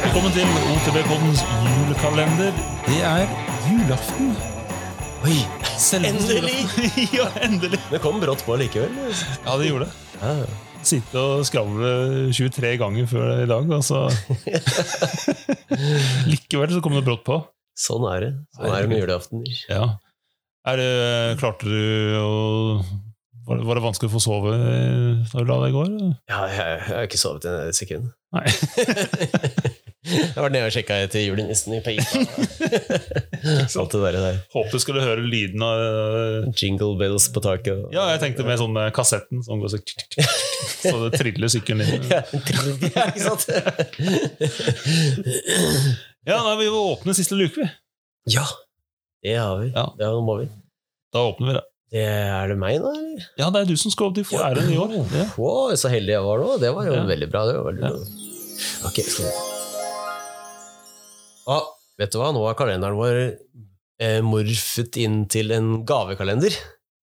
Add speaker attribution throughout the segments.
Speaker 1: Velkommen til OTB-poddens julekalender. Det er julaften.
Speaker 2: Oi, selveste
Speaker 3: Endelig!
Speaker 1: ja, endelig.
Speaker 2: Det kom brått på likevel.
Speaker 1: Ja, det gjorde det. Sitte og skravle 23 ganger før i dag, altså. Likevel så kom det brått på.
Speaker 2: Sånn er det. Sånn er det med julaften.
Speaker 1: Ja. Er det, klarte du å var det, var det vanskelig å få sove eh, da du la deg i går?
Speaker 2: Ja, jeg, jeg har ikke sovet i et sekund.
Speaker 1: Nei.
Speaker 2: jeg var nede og sjekka etter julenissen i Pekka. Alt det der der.
Speaker 1: Håper du skulle høre lyden av eh,
Speaker 2: Jingle bells på taket. og-
Speaker 1: Ja, jeg tenkte med sånn eh, kassetten som går så Så det triller sykkelen inn.
Speaker 2: Ja, ikke sant?
Speaker 1: Ja, nei, vi må åpne siste luke, vi.
Speaker 2: ja, det har vi.
Speaker 1: Ja.
Speaker 2: Ja, nå må vi.
Speaker 1: Da åpner vi det.
Speaker 2: Det, er det meg nå, eller?
Speaker 1: Ja, det er du som skal opp til få æren i år. Ja.
Speaker 2: Wow, så heldig jeg var nå. Det var jo
Speaker 1: Ja.
Speaker 2: veldig bra. Det var veldig
Speaker 1: Ja.
Speaker 2: bra. Ok, skal vi ah, Vet du hva, nå er kalenderen vår eh, morfet inn til en gavekalender.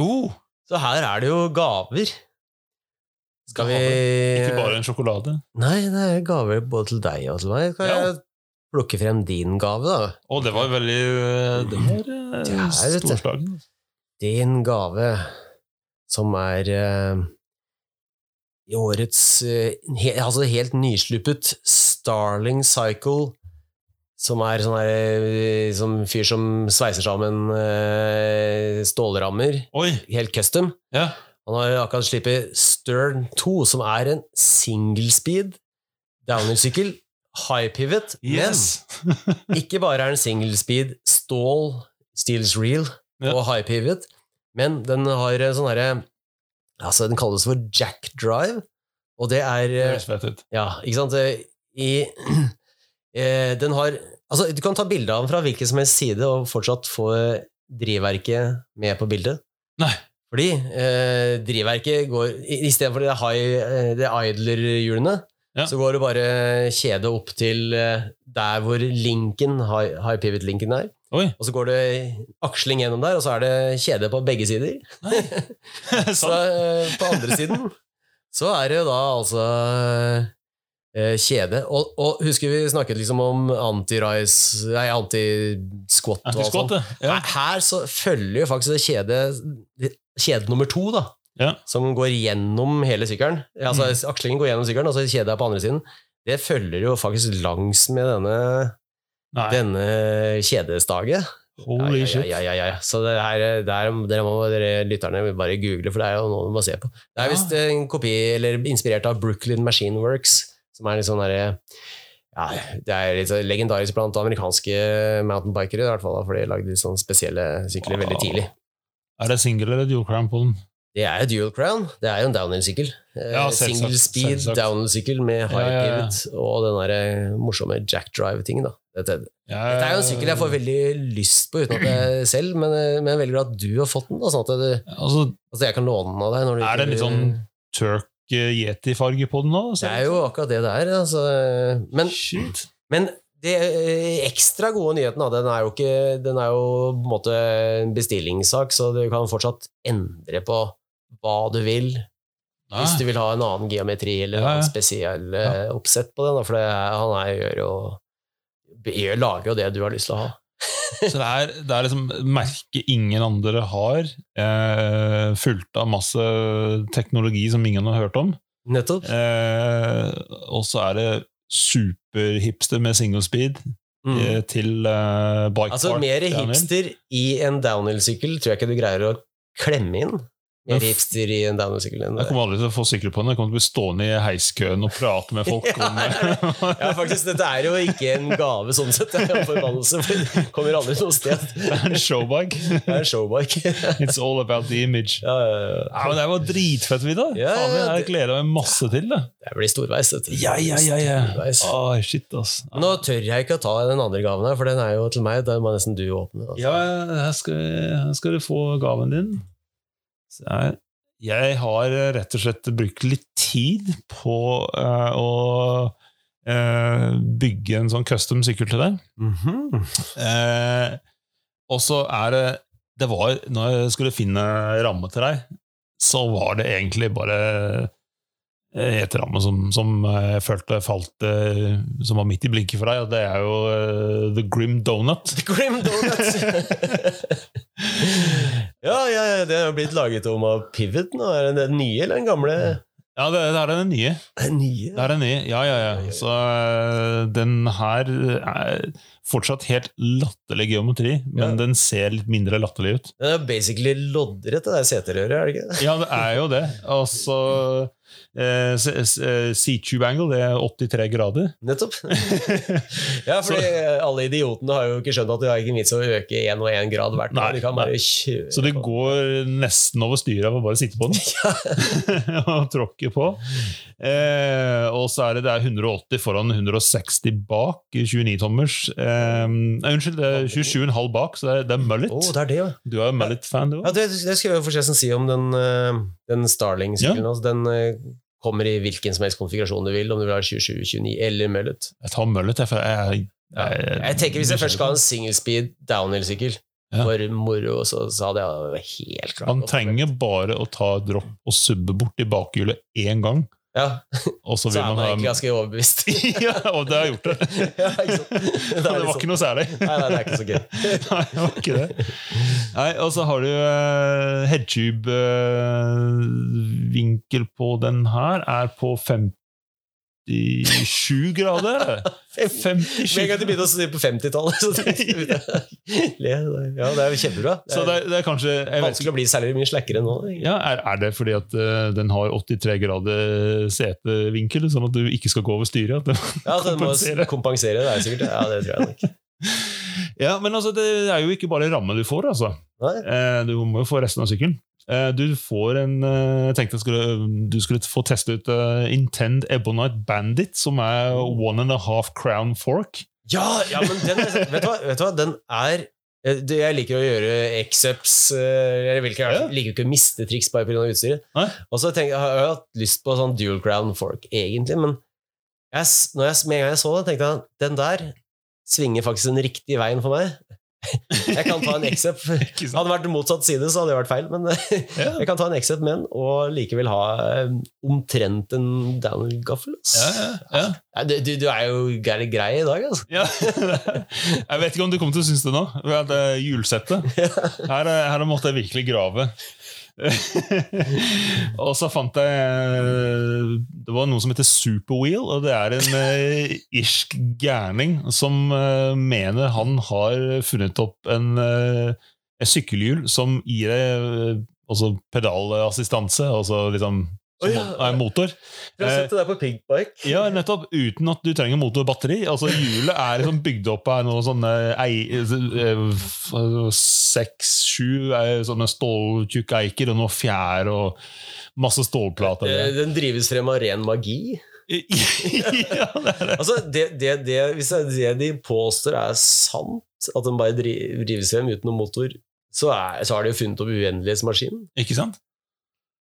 Speaker 1: Oh,
Speaker 2: Så her er det jo gaver. Skal vi Eh.
Speaker 1: ikke bare en sjokolade.
Speaker 2: Nei, det er gaver både til deg og til meg. Skal
Speaker 1: Ja.
Speaker 2: jeg plukke frem din gave, da?
Speaker 1: Å, det var veldig eh, Det var eh,
Speaker 2: Det er, vet du.
Speaker 1: storslagen.
Speaker 2: Din gave, som er eh, i årets eh, he, altså helt nysluppet Starling Cycle, som er sånn her, eh, som fyr som sveiser sammen eh, stålrammer,
Speaker 1: Oi!
Speaker 2: helt custom.
Speaker 1: Ja.
Speaker 2: Han har akkurat slippet Stern 2, som er en single speed downhill-sykkel, high pivot,
Speaker 1: Yes!
Speaker 2: men ikke bare er den single speed stål, steels reel,
Speaker 1: Ja.
Speaker 2: og high pivot. Men den har sånn herre Altså, den kalles for jack drive, og det er
Speaker 1: Det
Speaker 2: eh,
Speaker 1: høres fett ut.
Speaker 2: Ja, ikke sant? Eh, I eh, Den har Altså, du kan ta bilde av den fra hvilken som helst side og fortsatt få eh, drivverket med på bildet.
Speaker 1: Nei.
Speaker 2: Fordi eh, drivverket går i- Istedenfor det, high- eh, det idler-hjulene,
Speaker 1: Ja.
Speaker 2: så går det bare kjedet opp til eh, der hvor linken, high, high pivot-linken er.
Speaker 1: Oi!
Speaker 2: Og så går det aksling gjennom der, og så er det kjede på begge sider. Så
Speaker 1: Sant.
Speaker 2: eh, på andre siden så er det jo da altså eh, kjede. Og, og husker vi snakket liksom om anti-rise Nei, anti-squat og alt sånt.
Speaker 1: Antiskott, det. Ja.
Speaker 2: Her- Her så følger jo faktisk det kjede kjede nummer to, da.
Speaker 1: Ja. Mm.
Speaker 2: Som går gjennom hele sykkelen. Altså akslingen går gjennom sykkelen, og så kjedet er på andre siden. Det følger jo faktisk langs med denne,
Speaker 1: Nei,
Speaker 2: denne kjedestaget.
Speaker 1: holy
Speaker 2: Ja,
Speaker 1: shit.
Speaker 2: Ja, ja, ja, ja. Så det her, der, dere må dere lytterne bare google, for det er jo noe du må se på. Det
Speaker 1: Ja.
Speaker 2: er visst eh, en kopi, eller inspirert av Brooklyn Machine Works, som er litt sånn derre ja, Det er litt sånn legendarisk blant amerikanske mountainbikere, i hvert fall, da, for de lagde litt sånn spesielle sykler veldig tidlig.
Speaker 1: Er det single eller dual crown på den?
Speaker 2: Det er jo dual crown. Det er jo en downhill-sykkel. Eh,
Speaker 1: Ja, selvsagt,
Speaker 2: Single speed
Speaker 1: selvsagt.
Speaker 2: downhill-sykkel med high
Speaker 1: Ja, ja, ja.
Speaker 2: pivot og den der morsomme jack drive-tingen. da. Dette,
Speaker 1: Ja,
Speaker 2: dette er jo en sykkel jeg får veldig lyst på uten at jeg selv, men, men jeg er veldig glad at du har fått den. Da, sånn at det,
Speaker 1: Altså,
Speaker 2: altså jeg kan låne den av deg. Når du
Speaker 1: Er det
Speaker 2: ikke
Speaker 1: litt
Speaker 2: blir-
Speaker 1: sånn- Turk eh, Yeti-farge på den nå?
Speaker 2: Det er jo akkurat det det er. Altså. Men,
Speaker 1: Shit.
Speaker 2: men det eh, ekstra gode nyheten, da, den er jo, ikke, den er jo på en måte en bestillingssak, så du kan fortsatt endre på hva du vil, hvis du
Speaker 1: Nei.
Speaker 2: vil ha en annen geometri eller
Speaker 1: Ah. Ja, ja.
Speaker 2: en spesiell eh, oppsett på den. Da, for det er, han er, gjør jo gjør- lager jo det du har lyst til å ha.
Speaker 1: Så det er, det er liksom merket ingen andre har, eh, fullt av masse teknologi som ingen har hørt om.
Speaker 2: Nettopp.
Speaker 1: Eh, og så er det superhipster med single speed
Speaker 2: Mm.
Speaker 1: eh, til eh, bike
Speaker 2: Altså,
Speaker 1: park.
Speaker 2: mer
Speaker 1: downhill.
Speaker 2: hipster i en downhill-sykkel tror jeg ikke du greier å klemme inn.
Speaker 1: Men
Speaker 2: Mer
Speaker 1: f-
Speaker 2: hipster i en downhill-sykkel enn
Speaker 1: Jeg
Speaker 2: det.
Speaker 1: kommer aldri til å få sykle på den. Jeg kommer til å bli stående i heiskøen og prate med folk.
Speaker 2: Ja,
Speaker 1: om
Speaker 2: Ja, faktisk, dette er jo ikke en gave sånn sett. Det er en forbannelse, for det kommer aldri noe sted.
Speaker 1: Det er en showbike.
Speaker 2: Det er en showbike.
Speaker 1: It's all about the image.
Speaker 2: Ja, ja, ja.
Speaker 1: Ja, men Det var dritfett, Vidar.
Speaker 2: Ja,
Speaker 1: Faen,
Speaker 2: ja,
Speaker 1: jeg gleder meg masse til det.
Speaker 2: Det blir storveis, dette. Storveis.
Speaker 1: Åh, shit, ass.
Speaker 2: Men Nå tør jeg ikke å ta den andre gaven her, for den er jo til meg. Den må nesten du åpne. da.
Speaker 1: Ja, her skal, her skal du få gaven din. Så her. Jeg har eh, rett og slett brukt litt tid på eh, å eh, bygge en sånn custom sykkel til deg. Eh, og så er det Det var Når jeg skulle finne ramme til deg, så var det egentlig bare eh, helt ramme som, som eh, jeg følte falt eh, Som var midt i blinken for deg, og det er jo eh, The Grim Donut.
Speaker 2: Grim Donuts! ja, ja, ja, det er blitt laget om av Pivot nå. Er det den nye eller den gamle?
Speaker 1: Ja, det, det er den nye.
Speaker 2: Den nye?
Speaker 1: Det er den nye. Ja, ja, ja. Så eh, den her er fortsatt helt latterlig geometri, men
Speaker 2: Ja.
Speaker 1: den ser litt mindre latterlig ut.
Speaker 2: Den er basically loddrett, det der seterøret, er det ikke?
Speaker 1: Ja, det er jo det. Altså eh, s- s- eh, C-tube angle, det er 83 grader.
Speaker 2: Nettopp. ja, fordi alle idiotene har jo ikke skjønt at det er ikke vits å øke én og én grad hvert
Speaker 1: Nei,
Speaker 2: år. De kan
Speaker 1: nei.
Speaker 2: bare kjøre
Speaker 1: Så det
Speaker 2: på.
Speaker 1: går nesten over styret av å bare sitte på den og tråkke på. Eh, og så er det, det er 180 foran 160 bak i 29-tommers. Eh, nei, unnskyld, det er 27,5 bak, så det er, det er mullet.
Speaker 2: Å, det er det, ja.
Speaker 1: Du er jo mullet-fan, du
Speaker 2: ja
Speaker 1: òg?
Speaker 2: det, det skal jeg forresten si om den, eh, den Starling-sykkelen. Altså, den eh, kommer i hvilken som helst konfigurasjon du vil, om du vil ha 27, 29 eller mullet.
Speaker 1: Jeg tar mullet, jeg. For jeg,
Speaker 2: Ja.
Speaker 1: jeg,
Speaker 2: Jeg tenker Hvis jeg først skal ha en singlespeed downhill-sykkel
Speaker 1: Ja.
Speaker 2: for moro, så, så hadde jeg jo helt klart
Speaker 1: Man
Speaker 2: gått for
Speaker 1: trenger bare å ta dropp og subbe bort i bakhjulet én gang,
Speaker 2: det. Ja,
Speaker 1: og så
Speaker 2: så
Speaker 1: vil
Speaker 2: er
Speaker 1: man
Speaker 2: man
Speaker 1: ha
Speaker 2: egentlig ganske overbevist.
Speaker 1: Ja, og det har jeg gjort det.
Speaker 2: ja, ikke sant? Det, sånn.
Speaker 1: Og det var ikke noe særlig.
Speaker 2: Nei, nei, det er ikke så gøy.
Speaker 1: Nei, det var ikke det. Nei, og så har du uh, headtube-vinkel på den her, er på 57 grader. 57.
Speaker 2: Med en gang de begynte å si på 50-tallet, så tenkte jeg Ja, det er jo kjempebra. Det
Speaker 1: Så
Speaker 2: er
Speaker 1: det er, det er kanskje jeg vet ikke,
Speaker 2: vanskelig å bli særlig mye slakkere nå.
Speaker 1: ja, er, er det fordi at eh, den har 83 grader setevinkel, sånn at du ikke skal gå over styret? At det
Speaker 2: Ja, så du må
Speaker 1: Kompensere.
Speaker 2: kompensere, det er sikkert. Ja, det tror jeg nok.
Speaker 1: Ja, men altså, det er jo ikke bare ramme du får, altså.
Speaker 2: Nei.
Speaker 1: Eh, Du må jo få resten av sykkelen. Eh, Du får en eh, Jeg tenkte jeg skulle, du skulle få teste ut eh, Intend Ebonite Bandit, som er one and a half crown fork.
Speaker 2: Ja, ja, men den er, vet, du hva, vet du hva, den er eh, det- Jeg liker å gjøre exceps eh, Jeg vil ikke,
Speaker 1: Ja.
Speaker 2: jeg liker jo ikke å miste triks bare pga. utstyret.
Speaker 1: Nei.
Speaker 2: Og så tenker jeg, har jeg hatt lyst på sånn dual crown fork, egentlig, men jeg, s- når jeg, s- med en gang jeg så det, tenkte jeg den der svinger faktisk den riktige veien for meg. Jeg kan ta en except.
Speaker 1: Ikke sant?
Speaker 2: Hadde det vært motsatt side, så hadde det vært feil, men
Speaker 1: Ja.
Speaker 2: jeg kan ta en except med den og likevel ha eh, omtrent en downhill-gaffel. ass.
Speaker 1: Ja, ja,
Speaker 2: Nei, Du, du, du er jo grei, grei i dag, altså.
Speaker 1: ja. Jeg vet ikke om du kommer til å synes det nå. for at Det er hjulsettet. Her, eh, her måtte jeg virkelig grave. og så fant jeg eh, Det var noe som heter Superwheel, og det er en eh, irsk gærning som eh, mener han har funnet opp en eh, et sykkelhjul som gir deg eh, altså pedalassistanse, altså liksom som
Speaker 2: Å ja.
Speaker 1: mot- er motor.
Speaker 2: Vi har
Speaker 1: Eh,
Speaker 2: sett det der på pigbike.
Speaker 1: Ja, nettopp. Uten at du trenger motor og batteri. Altså, Hjulet er liksom bygd opp av noen sånne eh, seks-sju eh, sånne ståltjukke eiker og noe fjær og masse stålplater.
Speaker 2: Eh, Den drives frem av ren magi.
Speaker 1: ja, det er det.
Speaker 2: Altså, det, det, det, hvis det, er det de påstår er sant, at den bare dri- drives frem uten noen motor, så, er, så har de jo funnet opp uendelighetsmaskinen.
Speaker 1: Ikke sant?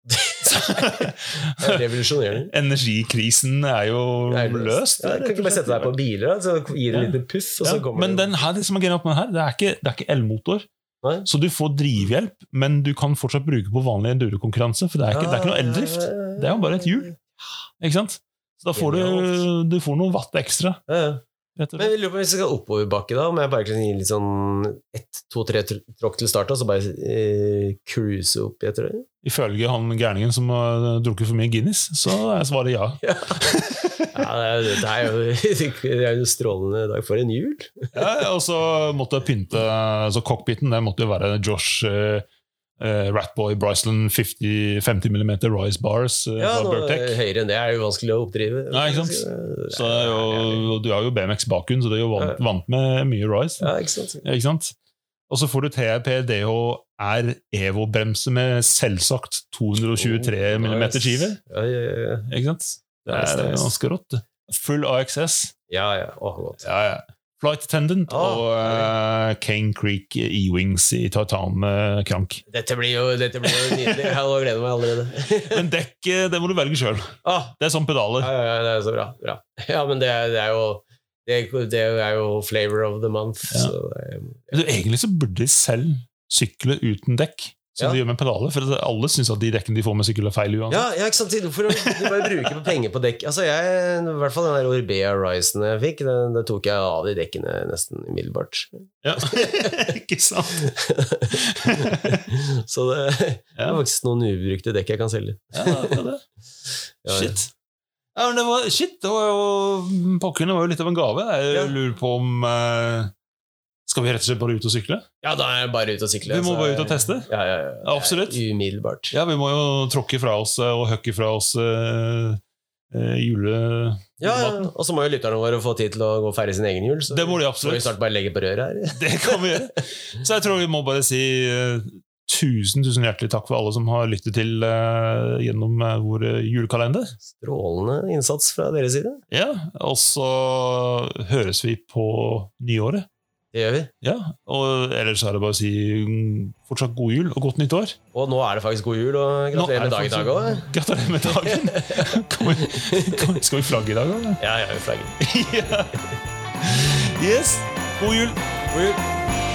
Speaker 2: Det er Revolusjonerende.
Speaker 1: Energikrisen er jo
Speaker 2: Det er
Speaker 1: løst.
Speaker 2: Ja, kan ikke bare sette deg på biler, da, så gir det
Speaker 1: Ja.
Speaker 2: en liten puff, og
Speaker 1: Ja,
Speaker 2: så kommer
Speaker 1: men
Speaker 2: det
Speaker 1: den her, det som er greia opp med den her, det er ikke, det er ikke elmotor.
Speaker 2: Nei.
Speaker 1: Så du får drivhjelp, men du kan fortsatt bruke på vanlig endurokonkurranse, for det er ikke, det er ikke noe eldrift. Det er jo bare et hjul. Ikke sant? Så da får du,
Speaker 2: Genialt.
Speaker 1: du får noe watt ekstra.
Speaker 2: Ja, ja.
Speaker 1: Rett og
Speaker 2: Men
Speaker 1: slett.
Speaker 2: jeg lurer på hvis vi skal oppoverbakke, da, om jeg bare kan gi litt sånn ett, to, tre tr- tråkk til start, og så bare eh, cruise opp etter det?
Speaker 1: Ifølge han gærningen som har eh, drukket for mye Guinness, så er svaret ja.
Speaker 2: Ja, det er jo- det er jo det er jo en strålende dag for en jul.
Speaker 1: ja og så måtte jeg pynte Så cockpiten det måtte jo være Josh eh, eh, Ratboy Bryceland 50, 50 mm Rise Bars eh,
Speaker 2: Ja,
Speaker 1: fra
Speaker 2: nå,
Speaker 1: Burtek.
Speaker 2: høyere enn det er jo vanskelig å oppdrive.
Speaker 1: Nei, ikke sant? Så det er jo, og du har jo BMX bakgrunn, så du er jo vant, vant med mye Rise.
Speaker 2: Ja, ikke sant?
Speaker 1: Ikke sant? Og så får du TRP DHR Evo-bremse med selvsagt 223 mm
Speaker 2: Oh, Nice.
Speaker 1: skive.
Speaker 2: Ja, ja, ja.
Speaker 1: Ikke sant? Det
Speaker 2: Nice,
Speaker 1: er
Speaker 2: nice.
Speaker 1: ganske rått. det. Full AXS.
Speaker 2: ja, ja. Å, godt.
Speaker 1: Ja, ja. Flight Attendant
Speaker 2: Ah,
Speaker 1: og eh, Kane Creek E-Wings i tartan-krank.
Speaker 2: Dette blir jo, dette blir jo nydelig. Jeg nå gleder jeg meg allerede.
Speaker 1: Men dekk, eh, det må du velge sjøl.
Speaker 2: Ah,
Speaker 1: Det er sånn pedaler.
Speaker 2: ja, ja, ja, det er så bra. bra. Ja, men det er, det er jo det, det er jo flavor of the month.
Speaker 1: Ja.
Speaker 2: Så det er,
Speaker 1: Du, egentlig så burde de selv sykle uten dekk. som
Speaker 2: Ja.
Speaker 1: de gjør med pedaler. For alle syns at de dekkene de får med sykkel, er feil uansett.
Speaker 2: Ja, ja, ikke sant? Hvorfor du bare bruker på penger på dekk? Altså jeg, I hvert fall den der Orbea Ryzen jeg fikk, den, den tok jeg av de dekkene nesten umiddelbart.
Speaker 1: Ja. Ikke sant?
Speaker 2: Så det, det er
Speaker 1: Ja.
Speaker 2: faktisk noen ubrukte dekk jeg kan selge.
Speaker 1: Ja, det er det.
Speaker 2: Ja, ja.
Speaker 1: Shit. Ja, men det var, shit, det var jo Pokkene var jo litt av en gave. Jeg
Speaker 2: Ja.
Speaker 1: lurer på om eh, Skal vi rett og slett bare ut og sykle?
Speaker 2: Ja, da er jeg bare ute og sykle.
Speaker 1: Vi må
Speaker 2: så-
Speaker 1: bare ut og teste.
Speaker 2: Ja, ja, ja.
Speaker 1: Ja, absolutt.
Speaker 2: Umiddelbart.
Speaker 1: Ja, vi må jo tråkke fra oss eh, og høkke fra oss eh, eh, jule...
Speaker 2: Ja, ja. Og så må jo lytterne våre få tid til å gå og feire sin egen jul. Så
Speaker 1: Det må de
Speaker 2: må vi
Speaker 1: absolutt.
Speaker 2: snart bare legge på røret her.
Speaker 1: Det kan vi gjøre. Så jeg tror vi må bare si eh, tusen, tusen hjertelig takk for alle som har lyttet til eh, gjennom eh, vår eh, julekalender.
Speaker 2: Strålende innsats fra deres side.
Speaker 1: Ja, og så høres vi på nyåret.
Speaker 2: Det gjør vi.
Speaker 1: Ja, og ellers er det bare å si mm, fortsatt god jul og godt nytt år.
Speaker 2: Og nå er det faktisk god jul, og
Speaker 1: Nå er
Speaker 2: gratulerer med
Speaker 1: det
Speaker 2: dag i dag òg.
Speaker 1: faktisk- Gratulerer med dagen! Kan vi, kan vi, skal vi flagge i dag, eller?
Speaker 2: Ja, ja, vi flagger.
Speaker 1: Ja. Yes, god jul!
Speaker 2: God jul.